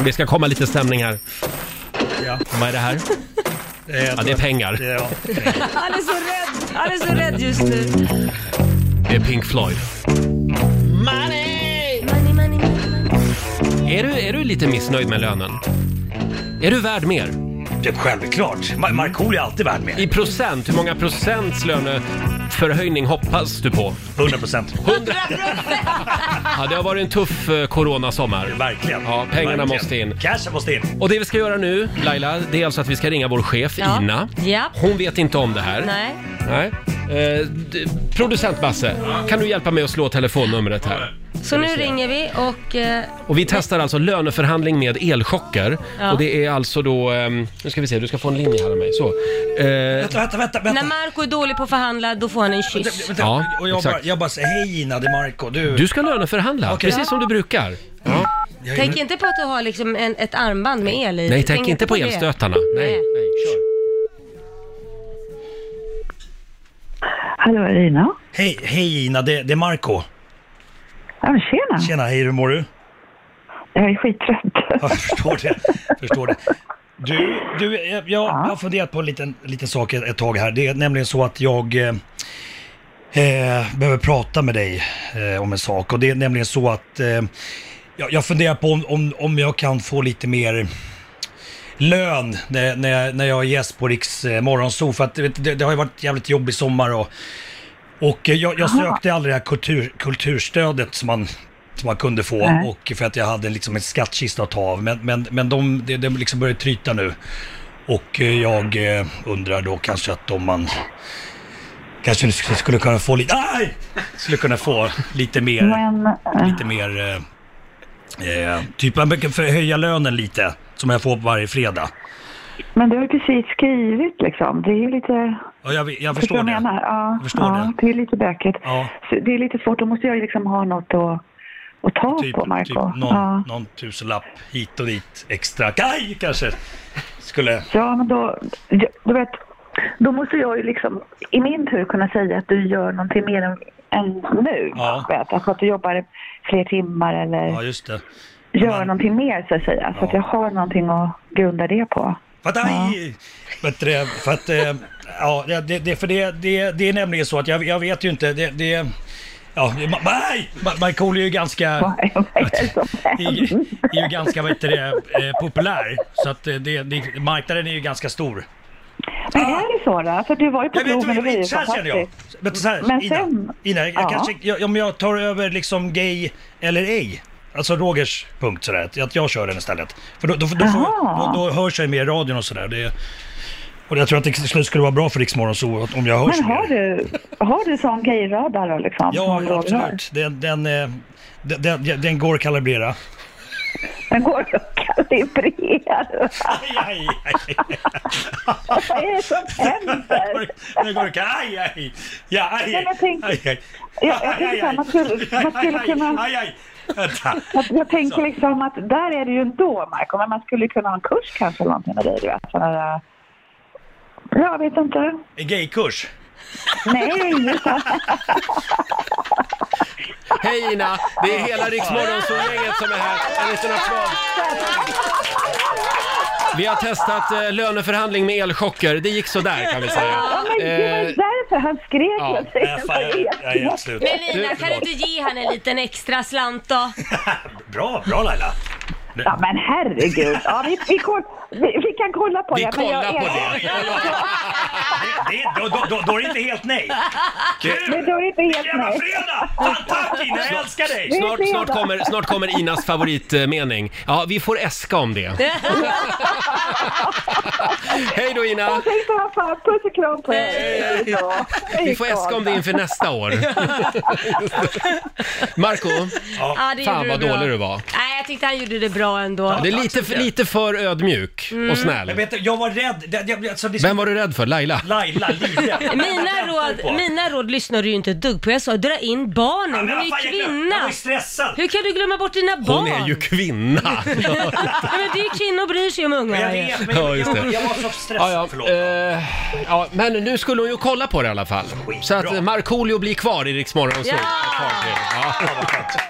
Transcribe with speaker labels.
Speaker 1: Vi ska komma lite stämning här.
Speaker 2: Ja.
Speaker 1: Vad är det här? Ja, det är pengar.
Speaker 2: Ja.
Speaker 3: Han är så rädd. Han är så rädd just nu.
Speaker 1: Det är Pink Floyd.
Speaker 3: Money, money, money, money.
Speaker 1: Är du, är du lite missnöjd med lönen? Är du värd mer?
Speaker 2: Det är självklart. Ma- Markoolio är alltid värd mer.
Speaker 1: I procent, hur många procents löneförhöjning hoppas du på?
Speaker 2: 100 procent.
Speaker 1: Ja, det har varit en tuff eh, coronasommar.
Speaker 2: Verkligen.
Speaker 1: Ja, pengarna
Speaker 2: Verkligen.
Speaker 1: måste in.
Speaker 2: Cashen måste in.
Speaker 1: Och det vi ska göra nu, Laila, det är alltså att vi ska ringa vår chef
Speaker 3: Ja.
Speaker 1: Ina.
Speaker 3: Ja.
Speaker 1: Hon vet inte om det här.
Speaker 3: Nej.
Speaker 1: Nej. Eh, d- producent Basse, kan du hjälpa mig att slå telefonnumret här?
Speaker 3: Så nu ringer vi och... Eh,
Speaker 1: Och vi testar alltså löneförhandling med elchocker.
Speaker 3: Ja.
Speaker 1: Och det är alltså då, ehm, nu ska vi se, du ska få en linje här av mig. Så. Eh,
Speaker 2: Vänta, vänta, vänta.
Speaker 3: när
Speaker 2: vänta.
Speaker 3: Marco är dålig på att förhandla, då får han en kyss.
Speaker 2: vänta.
Speaker 1: Ja,
Speaker 2: och jag, bara,
Speaker 1: exakt.
Speaker 2: jag bara säger hej Ina, det är Marco. Du,
Speaker 1: du ska löneförhandla,
Speaker 2: Okej.
Speaker 1: precis som du brukar. Ja.
Speaker 2: jag,
Speaker 3: Tänk inte på att du har liksom en, ett armband med el i.
Speaker 1: Nej, tänk inte på
Speaker 3: det.
Speaker 1: elstötarna. Nej,
Speaker 3: Nej.
Speaker 1: nej, kör.
Speaker 4: Hallå, är det Ina?
Speaker 2: hej, hej Ina, det, det är Marco.
Speaker 4: Ja, men tjena.
Speaker 2: Tjena, hej hur mår du?
Speaker 4: Jag är skittrött.
Speaker 2: Ja, Jag förstår det. förstår det. Du, du eh, jag, jag har funderat på en liten, liten sak ett, ett tag här. Det är nämligen så att jag eh, eh, behöver prata med dig eh, om en sak. Och det är nämligen så att eh, jag, jag funderar på om, om, om jag kan få lite mer lön när, när, jag, när jag är gäst på Riks eh, morgonzoo. För att du vet, det, det har ju varit jävligt jobbig sommar och, och eh, jag, jag sökte aldrig det här kultur, kulturstödet som man, som man kunde få.
Speaker 4: Nej.
Speaker 2: Och för att jag hade liksom en skattkista att ta av. Men, men, men de, det, det liksom börjar tryta nu. Och eh, jag eh, undrar då kanske att om man kanske sk- skulle kunna få lite, aj! Skulle kunna få lite mer,
Speaker 4: Men, eh,
Speaker 2: lite mer, eh, eh, typ man brukar förhöja lönen lite. Som jag får varje fredag.
Speaker 4: men du har ju precis skrivit liksom. Det är ju lite...
Speaker 2: Ja, jag, jag
Speaker 4: Förstår
Speaker 2: förstår
Speaker 4: du vad
Speaker 2: det.
Speaker 4: jag menar? Ja,
Speaker 2: Jag förstår
Speaker 4: ja,
Speaker 2: det.
Speaker 4: är lite bökigt.
Speaker 2: Ja.
Speaker 4: Så Det är lite svårt. Då måste jag ju liksom ha något att, att ta
Speaker 2: Typ,
Speaker 4: på, Marco.
Speaker 2: typ någon,
Speaker 4: ja.
Speaker 2: någon tusenlapp hit och dit extra. Kaj kanske skulle...
Speaker 4: ja, men då... ja, Du vet, då måste jag ju liksom i min tur kunna säga att du gör någonting mer än, än nu.
Speaker 2: Ja.
Speaker 4: Vet, alltså att du jobbar fler timmar eller
Speaker 2: Ja, just det.
Speaker 4: gör
Speaker 2: men-
Speaker 4: någonting mer så att säga. Så att
Speaker 2: Ja.
Speaker 4: jag har någonting att grunda det på.
Speaker 2: För att, aj, vet du det, för att, eh, ja, det- det, det, för det, det, det är nämligen så att jag, jag vet ju inte, det, det ja, det- ma- nej! Ma- Markoolio är ju ganska,
Speaker 4: Vad är det som
Speaker 2: är,
Speaker 4: händer?
Speaker 2: ju- är ju ganska, vad heter det, eh, populär. Så att eh, det, det, marknaden är ju ganska stor.
Speaker 4: Men är det så då? För du var ju på
Speaker 2: Jag vet
Speaker 4: Globen
Speaker 2: inte,
Speaker 4: och det var ju
Speaker 2: så här känner jag.
Speaker 4: fantastiskt.
Speaker 2: Men, så här,
Speaker 4: Men
Speaker 2: Ina,
Speaker 4: sen-
Speaker 2: Ina jag,
Speaker 4: Ja.
Speaker 2: kanske, jag, om jag tar över liksom gay eller ej. Alltså Rogers punkt sådär, att- att jag kör den istället. För då, då, då, då,
Speaker 4: Jaha.
Speaker 2: då, då hörs jag mer i radion och sådär. Det, och jag tror att det till slut skulle vara bra för Riksmorgon så att om jag hörs
Speaker 4: Men
Speaker 2: mer.
Speaker 4: har du, har du sån gayradar då liksom?
Speaker 2: Ja,
Speaker 4: Som
Speaker 2: ja,
Speaker 4: Roger har?
Speaker 2: absolut. Den, den, eh, den, den, den går att kalibrera.
Speaker 4: Den går att kalibrera.
Speaker 2: Aj, aj, aj.
Speaker 4: Vad är det som
Speaker 2: Den
Speaker 4: händer?
Speaker 2: går- Den går att... Aj, aj. Ja, aj,
Speaker 4: Nej,
Speaker 2: aj.
Speaker 4: men tänk-
Speaker 2: Aj, aj.
Speaker 4: Ja, jag tänker så här, man skulle- man skulle
Speaker 2: Aj, aj,
Speaker 4: kunna-
Speaker 2: Aj, aj. Vänta.
Speaker 4: Jag, jag tänker liksom att där är det ju ändå Marco, men man skulle ju kunna ha en kurs kanske eller någonting med dig. Du vet, sådana där, jag vet inte.
Speaker 2: En gaykurs.
Speaker 4: Nej,
Speaker 1: Hej Ina! Det är hela Rix gänget som är här. En liten applåd. Vi har testat eh, löneförhandling med elchocker. Det gick sådär kan vi säga.
Speaker 4: ja, men det var
Speaker 1: Eh,
Speaker 4: ju därför han skrek.
Speaker 1: ja.
Speaker 4: Jag tänkte,
Speaker 2: Nej, eh, fan,
Speaker 4: vad
Speaker 2: jag,
Speaker 4: är
Speaker 2: jag är helt slut.
Speaker 3: Men Lina, kan du inte ge han en liten extra slant då?
Speaker 2: Bra, bra Laila.
Speaker 4: Ja men herregud. Ja, vi, vi, koll, vi, vi kan kolla på
Speaker 1: Vi
Speaker 4: det. men
Speaker 1: kollar
Speaker 4: jag
Speaker 1: på
Speaker 4: är-
Speaker 1: det.
Speaker 2: Det, det, då, då, då, då är det inte helt nej.
Speaker 4: Men
Speaker 2: Kul!
Speaker 4: då är det inte helt
Speaker 2: Jävla
Speaker 4: nej.
Speaker 2: fredag! Fan tack Ina, jag älskar dig!
Speaker 1: Snart, snart, kommer, snart kommer Inas favoritmening. Ja, vi får äska om det. Hej då Ina!
Speaker 4: Jag tänkte vad fan, puss och kram på er. Ja,
Speaker 1: Vi får äska om det inför nästa år. Marco,
Speaker 3: Ja, det
Speaker 1: fan
Speaker 3: gjorde
Speaker 1: vad
Speaker 3: bra.
Speaker 1: dålig du var.
Speaker 3: Nej, jag tyckte han gjorde det bra ändå.
Speaker 1: Det är lite för, lite för ödmjuk
Speaker 3: Mm.
Speaker 1: och
Speaker 2: Jag,
Speaker 1: snäll.
Speaker 2: vet, inte, jag var rädd. Det, det, alltså, det,
Speaker 1: Vem var du rädd för? Laila?
Speaker 2: Laila, livrädd.
Speaker 3: Mina råd, mina råd lyssnar du ju inte ett dugg på. Jag sa dra in barnen, de är ju
Speaker 2: Jag var
Speaker 3: kvinna.
Speaker 2: ju stressad.
Speaker 3: Hur kan du glömma bort dina barn?
Speaker 1: Hon är ju kvinna.
Speaker 3: ja, men det är ju kvinnor bryr sig om
Speaker 2: Jag
Speaker 3: ungarna. ju.
Speaker 2: vet, men
Speaker 1: Ja,
Speaker 2: jag,
Speaker 1: just det.
Speaker 2: jag, jag var så stressad.
Speaker 1: Ja, ja.
Speaker 2: Förlåt.
Speaker 1: Eh, ja, men nu skulle hon ju kolla på det i alla fall. Så att eh, Markoolio blir kvar i Rix Morgon Zoo.
Speaker 3: Ja!
Speaker 1: Ett tag till. Ja.